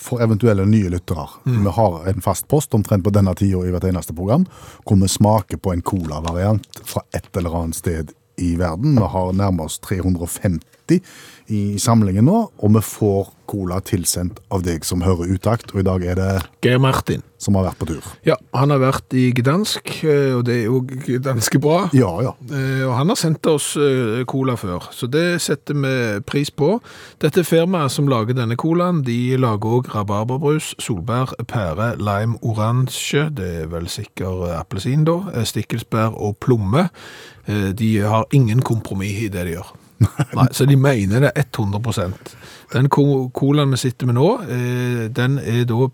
for eventuelle nye lyttere. Vi har en fast post omtrent på denne tida i hvert eneste program, hvor vi smaker på en colavariant fra et eller annet sted i verden. Vi har nærmere oss 350 i samlingen nå, og vi får cola tilsendt av deg som hører utakt, og i dag er det Geir Martin. som har vært på tur. Ja, han har vært i Gdansk, eh, og det er jo ganske bra. Ja, ja. Eh, Og han har sendt oss eh, cola før, så det setter vi pris på. Dette firmaet som lager denne colaen, de lager òg rabarberbrus, solbær, pære, lime, oransje, det er vel sikker eh, appelsin da, eh, stikkelsbær og plomme. Eh, De har ingen kompromiss i det de gjør. Nei, så de mener det 100 Den co- colaen vi sitter med nå, eh, den er da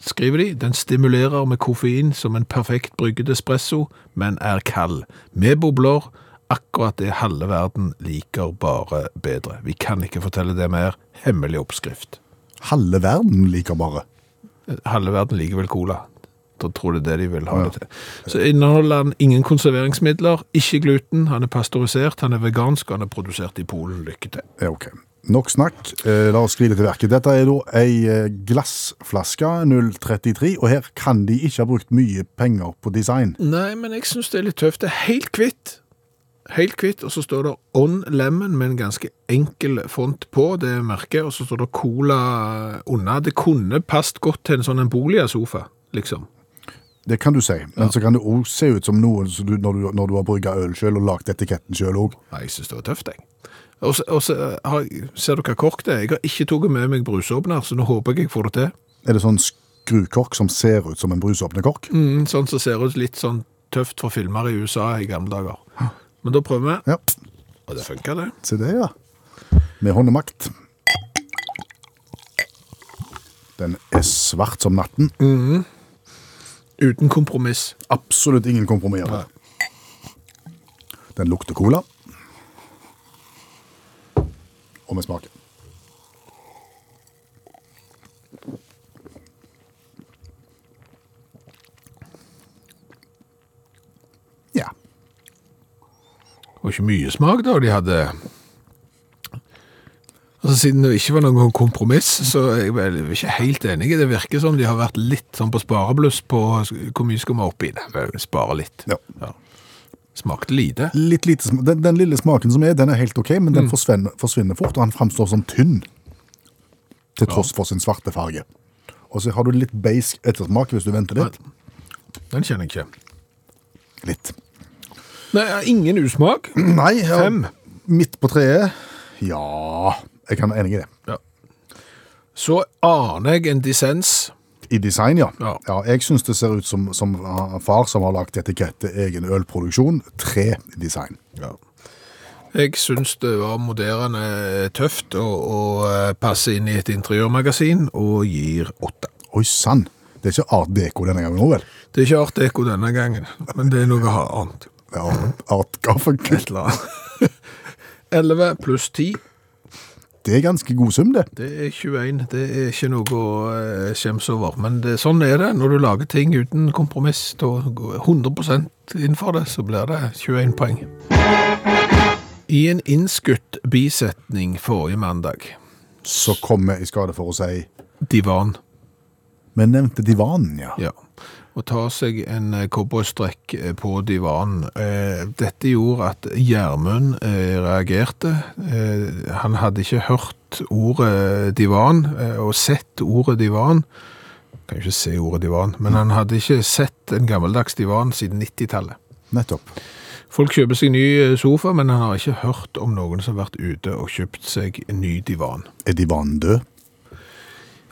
skriver de, den stimulerer med koffein som en perfekt brygget espresso, men er kald. Med bobler, akkurat det halve verden liker bare bedre. Vi kan ikke fortelle det mer. Hemmelig oppskrift. Halve verden liker bare. Halve verden liker vel cola. Da tror jeg det er det de vil ha det til. Så inneholder han ingen konserveringsmidler, ikke gluten, han er pasteurisert, han er vegansk, og han er produsert i Polen. Lykke til. Ja, ok. Nok snakk. Eh, La oss skride til verket. Dette er da ei eh, glassflaske 033, og her kan de ikke ha brukt mye penger på design. Nei, men jeg syns det er litt tøft. Det er helt hvitt. Helt hvitt, og så står det On Lemon med en ganske enkel font på det merket, og så står det Cola unna. Det kunne passet godt til en sånn en boligsofa, liksom. Det kan du si, men så kan det òg se ut som noe som du, når, du, når du har brygga øl sjøl og lagd etiketten sjøl òg. Nei, jeg syns det var tøft, jeg. Og så, og så eh, har, jeg- ser du hva kork det er? Jeg har ikke tatt med meg brusåpner, så nå håper jeg jeg får det til. Er det sånn skrukork som ser ut som en brusåpnekork? Mm, sånn som ser ut litt sånn tøft for filmer i USA i gamle dager. Men da prøver vi, Ja, og det funker, det. se det, ja. Med håndemakt. Den er svart som natten. Uten kompromiss. Absolutt ingen kompromisser. Den lukter cola. Og med smaken. Ja. Det var ikke mye smak da de hadde Altså Siden det ikke var noen kompromiss, så er jeg vel ikke helt enig. Det virker som de har vært litt sånn på sparebluss på hvor mye skal vi opp i. Nei, vel, Spare litt. Ja. Smakte lite. Litt lite, sm- den, den lille smaken som er, den er helt ok, men den forsvinner, forsvinner fort, og han framstår som tynn. Til tross for sin svarte farge. Og så har du litt beisk ettersmak hvis du venter litt. Den kjenner jeg ikke. Litt. Nei, ingen usmak. Nei, ja, Fem. midt på treet. Ja, jeg kan være enig i det. Så aner jeg en dissens. I design, ja. Ja. jeg syns det ser ut som, som eh, far som har lagt etikette egen ølproduksjon. Tre i design. Jeg syns det var moderne eh, tøft å, å eh, passe inn i et interiørmagasin, og gir åtte. Oi sann, det er ikke Art Deco denne gangen òg, vel? Det er ikke Art Deco denne gangen, men det er noe annet. Det er Art- Art Garfunkel. Et eller annet. 11 pluss 10, Det er ganske god sum, det. det er 21. Det er ikke noe å eh, skjemmes over. Men det, sånn er det når du lager ting uten kompromiss. Da går 100 innenfor det, så blir det 21 poeng. I en innskutt bisetning forrige mandag, Så kom jeg i skade for å si divan, Vi nevnte divanen, ja. ja, og ta seg en eh, cowboystrekk eh, på divanen. Eh, Dette gjorde at Gjermund eh, reagerte. Eh, Han hadde ikke hørt ordet divan, eh, og sett ordet divan. Kan jo ikke se ordet divan, men han hadde ikke sett en gammeldags divan siden 90-tallet. Nettopp. Folk kjøper seg ny eh, sofa, men han har ikke hørt om noen som har vært ute og kjøpt seg en ny divan. Er divanen død?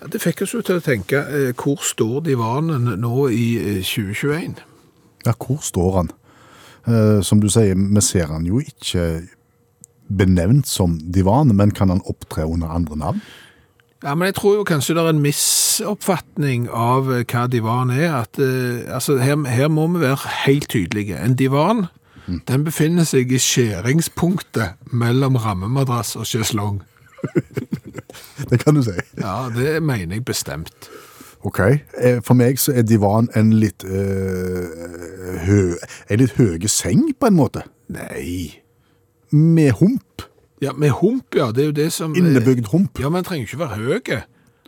Ja, Det fikk oss jo til å tenke, eh, hvor står divanen nå i eh, 2021? Ja, hvor står han? Eh, som du sier, vi ser han jo ikke benevnt som divan, men kan han opptre under andre navn? Ja, men jeg tror jo kanskje det er en misoppfatning av eh, hva divan er. At, eh, altså, her, her må vi være helt tydelige. En divan Mm. den befinner seg i skjæringspunktet mellom rammemadrass og sjeslong. Det kan du si. Ja, det mener jeg bestemt. Ok. Eh, For meg så er divan en litt eh, hø, En litt høye seng, på en måte. Nei. Med hump. Ja, Med hump, ja. Det er jo det som eh, Innebygd hump. Ja, men den trenger ikke være høy.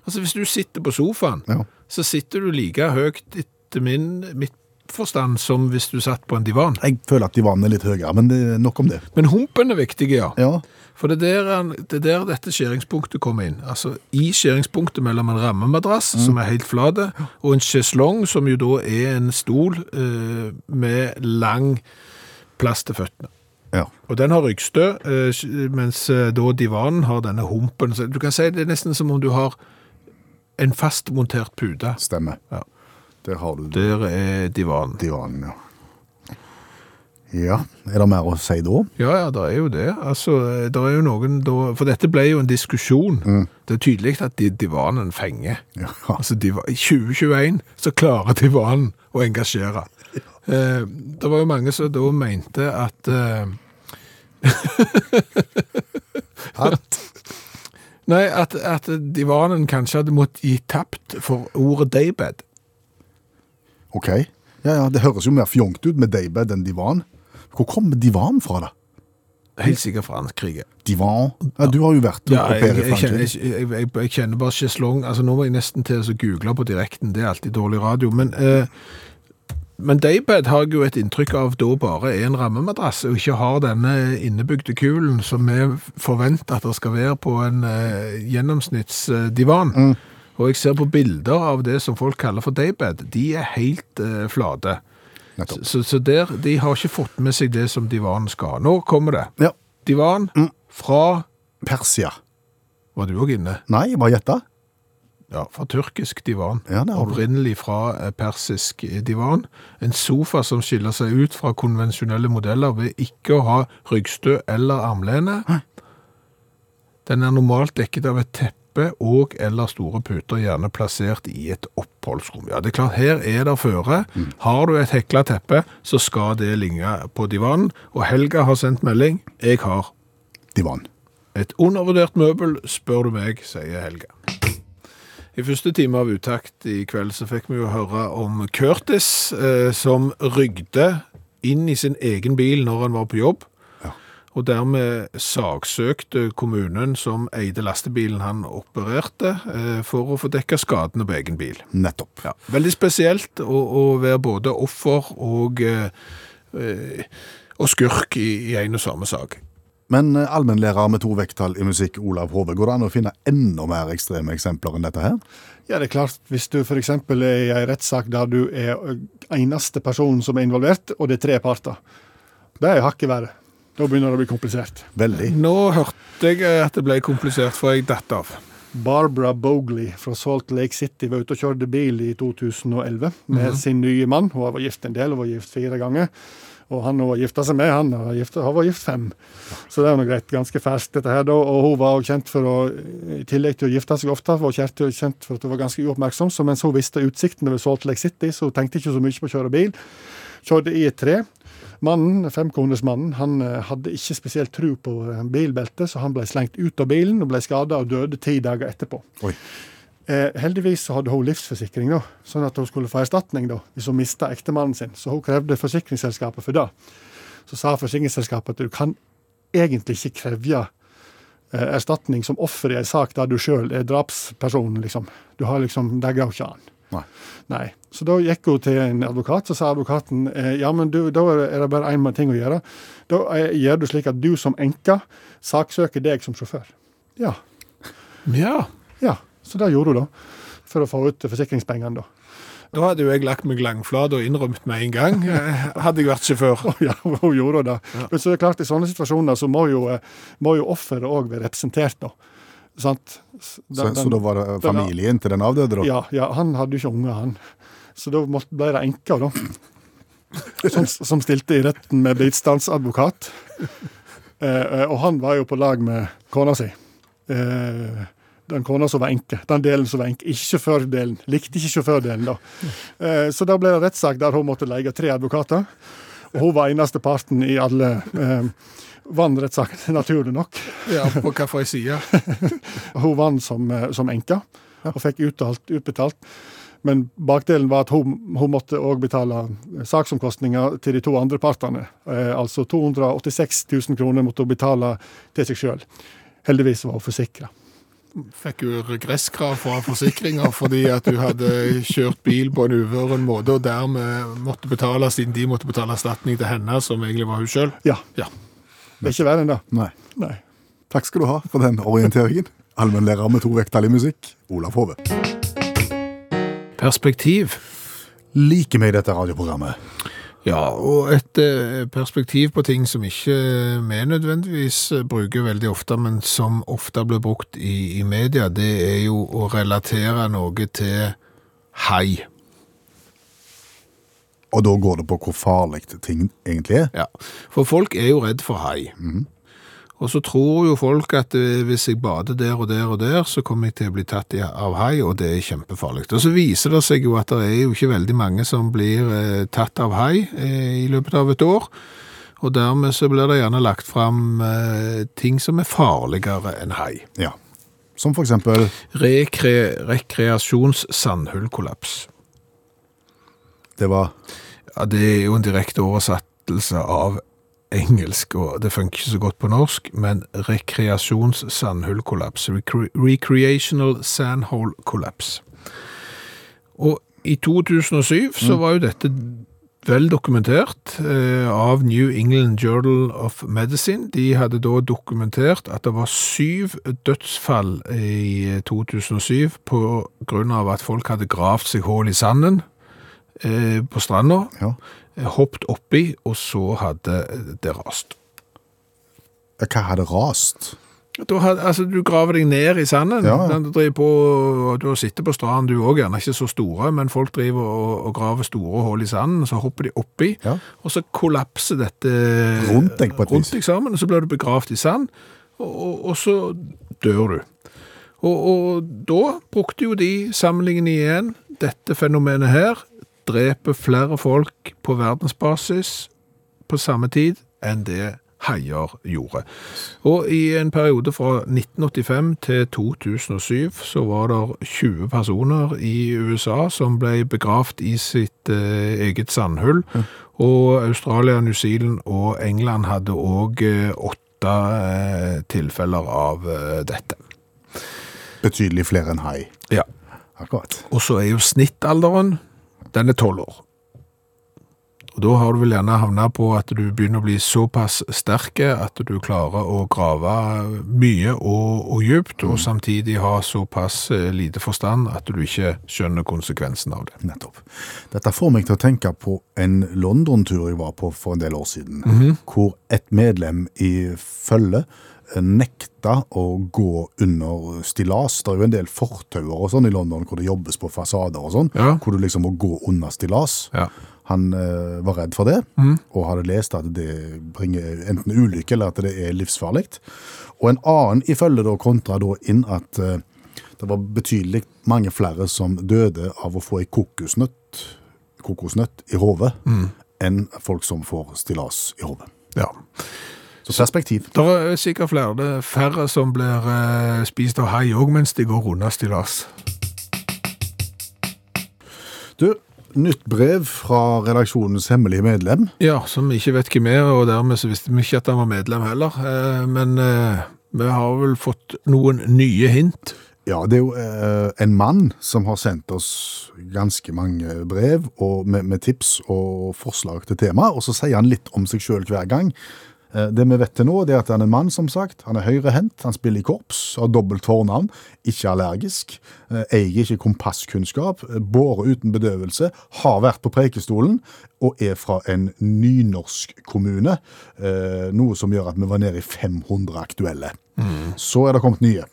Altså, hvis du sitter på sofaen, Ja. så sitter du like høyt etter min, mitt forstand som hvis du satt på en divan. Jeg føler at divanen er litt høyere, men det er nok om det. Men humpen er viktig, ja. Ja, For det er der, han- det er der dette skjæringspunktet kommer inn. Altså i skjæringspunktet mellom en rammemadrass, som er helt flate, og en sjeslong, som jo da er en stol eh, med lang plass til føttene. ja. Og den har ryggstø, eh, sj- mens eh, da divanen har denne humpen. Så du kan si det er nesten som om du har en fastmontert pute. Stemmer. Ja. Der har du Der er divanen. divanen, ja. Ja, er det mer å si da? Ja, ja, det er jo det. Altså, eh, det er jo noen da For dette ble jo en diskusjon. Det er tydelig at di- divanen fenger. Ja. Altså, diva- I 2021 så klarer divanen å engasjere. Eh, det var jo mange som da mente at eh, At, Nei, at, at divanen kanskje hadde måttet gi tapt for ordet daybed. ok. Ja, ja, det høres jo mer fjongt ut med daybed enn divan. Hvor kommer divan fra, da? Helt sikkert Frankrike. Divan? Ja, du har jo vært Ja, au jeg, pair i jeg, kjenner, Frankrike. jeg, jeg, jeg, jeg kjenner bare sjeslong. Altså, nå må jeg nesten til å google på direkten. Det er alltid dårlig radio. Men, eh, men daybed har jeg jo et inntrykk av da bare er en rammemadrass, og ikke har denne innebygde kulen som vi forventer at det skal være på en eh, gjennomsnittsdivan. Mm. Og jeg ser på bilder av det som folk kaller for daybed. De er helt eh, flate. Nettopp. Så, så der, de har ikke fått med seg det som divanen skal. ha. Nå kommer det. Ja, Mm. Divan fra Persia. Var du òg inne? Nei, jeg bare gjetta. Ja, fra tyrkisk divan. Ja, det har du. Opprinnelig fra eh, persisk divan. En sofa som skiller seg ut fra konvensjonelle modeller ved ikke å ha ryggstø eller armlene. Den er normalt dekket av et teppe og eller store puter, gjerne plassert i et oppholdsrom. Ja, det er klart, her er det føre. Mm. Har du et hekla teppe, så skal det ligge på divanen. Og Helga har sendt melding. Jeg har Divan. et undervurdert møbel, spør du meg, sier Helga. I første time av Utakt i kveld så fikk vi jo høre om Curtis, eh, som rygde inn i sin egen bil når han var på jobb, og dermed saksøkte kommunen som eide lastebilen han opererte, eh, for å få dekka skadene på egen bil. Nettopp. Ja, veldig spesielt å, å være både offer og, eh, eh, og skurk i, i en og samme sak. Men eh, allmennlærer med to vekttall i musikk, Olav Hove, går det an å finne enda mer ekstreme eksempler enn dette her? Ja, det er klart. Hvis du f.eks. er i en rettssak der du er eh, eneste person som er involvert, og det er tre parter, det er hakket verre. Da begynner det å bli komplisert. Veldig. Nå hørte jeg at det ble komplisert, for jeg datt av. Barbara Bogley fra Salt Lake City var ute og kjørte bil i 2011 med sin nye mann. Hun var gift en del, hun var gift fire ganger. Og han hun var gifta seg med, han var gift, han var gift fem. Så det er nå greit. Ganske ferskt, dette her. da. Og hun var også kjent for å, i tillegg til å gifte seg ofte, var kjent, kjent for at hun var ganske uoppmerksom. Så mens hun visste utsikten over Salt Lake City, så hun tenkte ikke så mye på å kjøre bil. Kjørte i et tre. Mannen, femkronersmannen, han eh, hadde ikke spesielt tro på eh, bilbeltet, så han ble slengt ut av bilen og ble skada og døde ti dager etterpå. Oi. Eh, heldigvis så hadde hun livsforsikring, da, sånn at hun skulle få erstatning da, hvis hun mista ektemannen sin. Så hun krevde forsikringsselskapet for det. Så sa forsikringsselskapet at du kan egentlig ikke kreve eh, erstatning som offer i en sak der du sjøl er drapspersonen, liksom. Du har liksom, Det går ikke an. Nei. Nei. Så da gikk hun til en advokat, så sa advokaten eh, ja, men du, da er det bare én ting å gjøre. Da eh, gjør du slik at du som enke saksøker deg som sjåfør. Ja. Ja. ja. Så det gjorde hun, da. For å få ut forsikringspengene, da. Da hadde jo jeg lagt meg langflat og innrømt med en gang. eh, Hadde jeg vært sjåfør. Ja, hun gjorde det. Men så er det klart, i sånne situasjoner så må jo, eh, må jo offeret òg være representert, da. Sant? S- Så, den- så da var det eh, den- familien til den avdøde, da? Ja, ja, han hadde jo ikke unger, han. Så da måtte- ble det enka, da. Som, som stilte i retten med bistandsadvokat. Eh, eh, og han var jo på lag med kona si. Eh, den kona som var enke. Den delen som var enke. Ikke sjåførdelen. Likte ikke sjåførdelen, da. Eh, så da ble det rettssak der hun måtte leie tre advokater. Og hun var eneste parten i alle. Eh, Vant rettssaken, naturlig nok. Ja, på hvilken side? Hun vant som, eh, som enke og fikk uttalt, utbetalt. Men bakdelen var at hun, hun måtte òg betale eh, saksomkostninger til de to andre partene. Eh, altså 286 000 kroner måtte hun betale til seg sjøl. Heldigvis var hun forsikra. Fikk jo regresskrav fra forsikringer fordi at du hadde kjørt bil på en uvøren måte, og dermed måtte betale, siden de måtte betale erstatning til henne, som egentlig var hun sjøl. Ja. Ja. Det er ikke verre enn det. Nei. Nei. Takk skal du ha for den orienteringen. Allmennlærer med to vekttall i musikk, Olav Hove. Perspektiv. Liker meg dette radioprogrammet. Ja, og et eh, perspektiv på ting som ikke eh, vi nødvendigvis eh, bruker veldig ofte, men som ofte blir brukt i, i media, det er jo å relatere noe til hai. Og da går det på hvor farlig ting egentlig er. Ja, for folk er jo redd for hai. Og så tror jo folk at eh, hvis jeg bader der og der og der, så kommer jeg til å bli tatt i- av hai, og det er kjempefarlig. Og så viser det seg jo at det er jo ikke veldig mange som blir eh, tatt av hai eh, i løpet av et år. Og dermed så blir det gjerne lagt fram eh, ting som er farligere enn hai. Ja. Som for eksempel Rekre, rekreasjonssandhullkollaps. Det var Ja, det er jo en direkte oversettelse av engelsk, og det funker ikke så godt på norsk, men rekreasjonssandhullkollaps, recre recreational sandhole collapse. Og i 2007 så var jo dette vel dokumentert eh, av New England Journal of Medicine. De hadde da dokumentert at det var syv dødsfall i eh, 2007 på grunn av at folk hadde gravd seg hål i sanden eh, på stranda, ja. eh, hoppet oppi, og så hadde det rast. Hva hadde rast? Da had, altså, du graver deg ned i sanden. Ja, ja. Du, driver på, du sitter på stranden, du òg, gjerne ikke så store, men folk driver og, og graver store hull i sanden, så hopper de oppi, Ja. og så kollapser dette Rundt deg på et rundt vis. deg sammen, og så blir du begravd i sand, og, og, og så dør du. Og, og da brukte jo de sammenligningen igjen, dette fenomenet her, dreper flere folk på verdensbasis på samme tid enn det haier gjorde. Og i en periode fra 1985 til 2007 så var det 20 personer i USA som ble begravd i sitt eh, eget sandhull, og Australia, New Zealand og England hadde òg eh, åtte eh, tilfeller av eh, dette. Betydelig flere enn hai. Ja. Akkurat. Og så er jo snittalderen, den er 12 år. Og da har du vel gjerne havnet på at du begynner å bli såpass sterke at du klarer å grave mye og, og djupt, og samtidig ha såpass eh, lite forstand at du ikke skjønner konsekvensen av det. Nettopp. Dette får meg til å tenke på en London-tur jeg var på for en del år siden, Mhm. hvor et medlem i følget nekta å gå under stillas. Det er jo en del fortauer og sånn i London hvor det jobbes på fasader og sånn, Ja. hvor du liksom må gå under stillas. Ja. Han eh, var redd for det, og hadde lest at det bringer enten ulykke eller at det er livsfarlig. Og en annen i følge da kontra da inn at eh, det var betydelig mange flere som døde av å få ei kokosnøtt, kokosnøtt i hodet, enn folk som får stillas i hodet. Ja. Så perspektiv. Det er sikkert flere, det er færre som blir eh, spist av hai òg mens de går unna stillas. Du, nytt brev fra redaksjonens hemmelige medlem. Ja, som ikke vet hvem er, og dermed så visste vi ikke at han var medlem heller. Eh, Men eh, vi har vel fått noen nye hint. Ja, det er jo eh, en mann som har sendt oss ganske mange brev og med, med tips og forslag til tema, og så sier han litt om seg sjøl hver gang. Eh, det vi vet til nå, det er at han er en mann, som sagt. Han er høyrehendt, han spiller i korps, har dobbelt fornavn, ikke allergisk, eh, eier ikke kompasskunnskap, eh, båret uten bedøvelse, har vært på Preikestolen og er fra en nynorsk kommune, eh, noe som gjør at vi var nede i 500 aktuelle. Så er det kommet nye.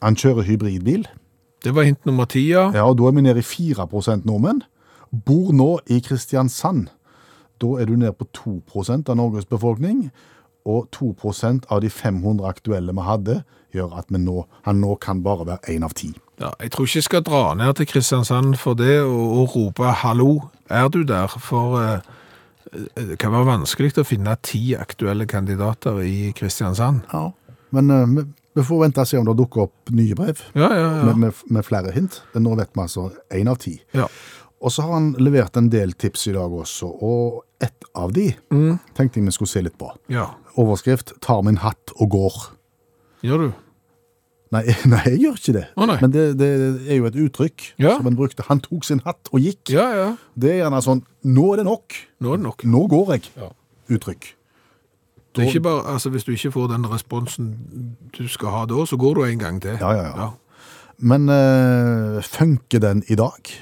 Han kjører hybridbil, Det var hint nummer ti, ja. ja, og da er vi nede i 4 nordmenn. Bor nå i Kristiansand. Da er du nede på 2 av Norges befolkning. Og 2 av de 500 aktuelle vi hadde, gjør at vi nå, han nå kan bare være én av ti. ja. Jeg tror ikke jeg skal dra ned til Kristiansand for det og, og rope 'hallo, er du der?' For eh, eh, det kan være vanskelig å finne ti aktuelle kandidater i Kristiansand. Ja. Men eh, vi, vi får vente og se om det dukker opp nye brev Ja, ja, ja. med, med, med flere hint. Men nå vet vi altså én av ti. ja. Og så har han levert en del tips i dag også, og ett av de tenkte jeg vi skulle se litt på. ja. Overskrift 'Tar min hatt og går'. Gjør du? Nei, nei, jeg gjør ikke det. Å, nei. Men det, det er jo et uttrykk Ja. som han brukte. Han tok sin hatt og gikk. Ja, ja. Det er gjerne sånn Nå er det nok. Nå er det nok. Nå går jeg. Ja. Uttrykk. Det er ikke bare, altså, hvis du ikke får den responsen du skal ha da, så går du en gang til. Ja, ja, ja. Men eh, funker den i dag?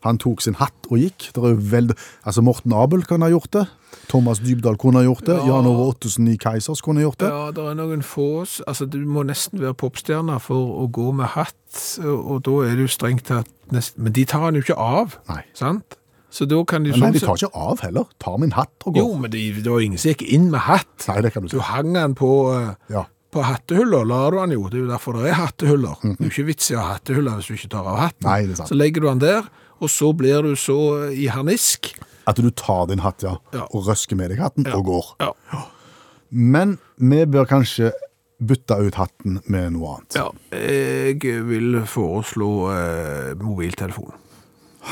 Han tok sin hatt og gikk. Det er jo veld... Altså, Morten Abel kan ha gjort det. Thomas Dybdahl kunne ha gjort det. Jan Ove Ottesen i Keisers kunne ha gjort det. Ja, det er noen få s- Altså, du må nesten være popstjerne for å gå med hatt, og og da er det jo strengt tatt nest- Men de tar han jo ikke av, Nei. sant? Så da kan de Nei, sånn de tar ikke av heller. Tar min hatt og går. Jo, men de, det var ingen som gikk inn med hatt. Nei, det kan du Du si. hang han på, eh, Ja. på hattehyller, la du han jo. Det er jo derfor det er hattehyller. Det er jo ikke vits i å ha hattehyller hvis du ikke tar av hatten. Mhm. Nei, det er sant. Så legger du han der, og så blir du så eh, i harnisk. At du tar din hatt, ja, Ja. og røsker med deg hatten og går. Ja. Men vi bør kanskje bytte ut hatten med noe annet. Ja, jeg vil foreslå eh, mobiltelefon.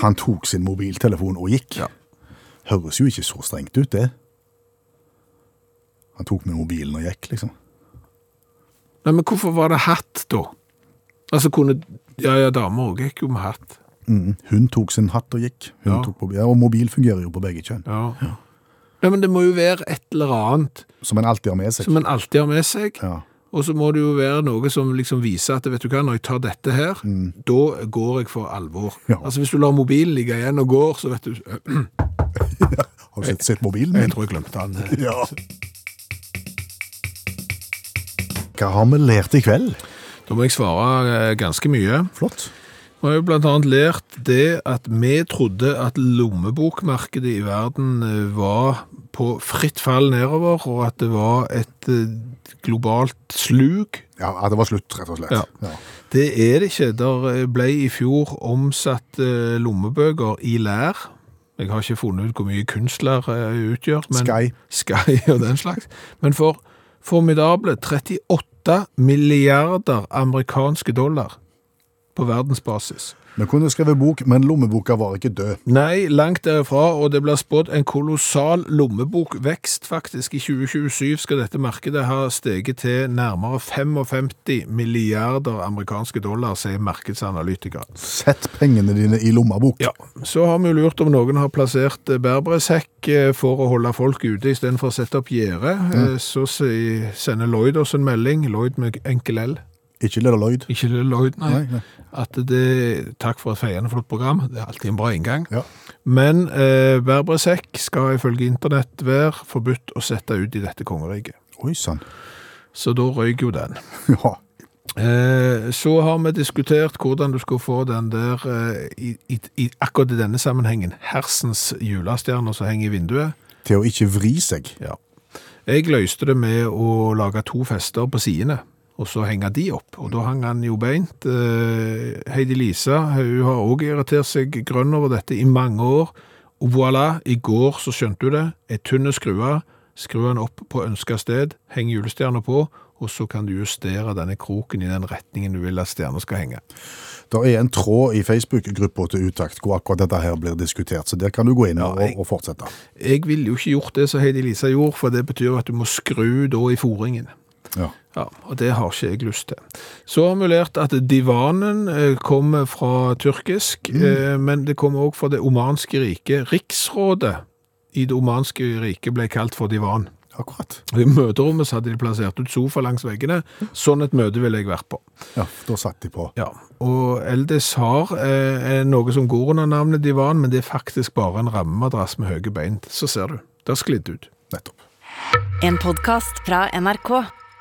Han tok sin mobiltelefon og gikk. Ja. Høres jo ikke så strengt ut, det. Han tok med mobilen og gikk, liksom. Nei, men hvorfor var det hatt da? Altså kunne Ja, ja, damer òg gikk jo med hatt. Mm. Hun tok sin hatt og gikk. Hun Ja. tok på, ja, og mobil fungerer jo på begge kjønn, Ja. Nei, men det må jo være et eller annet som en alltid har med seg. som en alltid har med seg. Ja. Og så må det jo være noe som liksom viser at vet du hva, når jeg tar dette her, da går jeg for alvor. Ja. Altså hvis du lar mobilen ligge igjen og går, så vet du Har du sett, sett mobilen min? Jeg tror jeg glemte den. Ja. Hva har vi lært i kveld? Da må jeg svare eh, ganske mye. Flott. Vi har jo blant annet lært det at vi trodde at lommebokmarkedet i verden eh, var på fritt fall nedover, og at det var et eh, globalt slug. Ja, at det var slutt, rett og slett. Ja. Det er det ikke. Der eh, ble i fjor omsatt eh, lommebøker i lær. Jeg har ikke funnet ut hvor mye kunstler eh, utgjør. Men, Sky. Sky og den slags. Men for formidable 38 milliarder amerikanske dollar på verdensbasis. Vi kunne skrevet bok, men lommeboka var ikke død. Nei, langt derifra, og det blir spådd en kolossal lommebokvekst, faktisk. I 2027 skal dette markedet ha steget til nærmere 55 milliarder amerikanske dollar, sier markedsanalytikere. Sett pengene dine i lommebok. Ja, så har vi jo lurt om noen har plassert eh, berbresekk eh, for å holde folk ute istedenfor å sette opp gjerde. Eh, Så si- sender Lloyd oss en melding, Lloyd med enkel L. Ikke Little Lloyd. Ikke Lloyd, nei. Nei, nei. At det, takk for et feiende flott program, det er alltid en bra inngang. Ja. Men eh, berbresekk skal ifølge internett være forbudt å sette ut i dette kongeriket. Oi sann. Så da røyk jo den. Ja. Eh, så har vi diskutert hvordan du skulle få den der, eh, i, i, i akkurat i denne sammenhengen, hersens julestjerner som henger i vinduet. Til å ikke vri seg. Ja. Jeg løste det med å lage to fester på sidene, og så henge de opp. Og da hang han jo beint. Eh, Heidi Lisa, hun har også irritert seg grønn over dette i mange år. Og voilà, i går så skjønte hun det. Et tynne skrua, skru den opp på ønsket sted, heng julestjerna på, og så kan du justere denne kroken i den retningen du vil at stjerna skal henge. Det er en tråd i Facebook-gruppa til Utakt hvor akkurat dette her blir diskutert, så der kan du gå inn og, jeg- og fortsette. Jeg ville jo ikke gjort det som Heidi Lisa gjorde, for det betyr at du må skru da i foringen. Ja. Ja, og det har ikke jeg lyst til. Så har vi lært at divanen eh, kommer fra tyrkisk, eh, men det kommer også fra det omanske riket. Riksrådet i det omanske riket ble kalt for divan. Akkurat. Og I møterommet så hadde de plassert ut sofa langs veggene. Sånn et møte ville jeg vært på. Ja, da satt de på. Ja, og Eldis har eh, er noe som går under navnet divan, men det er faktisk bare en rammemadrass med høye bein. Så ser du, det har sklidd ut. Nettopp. En podkast fra NRK.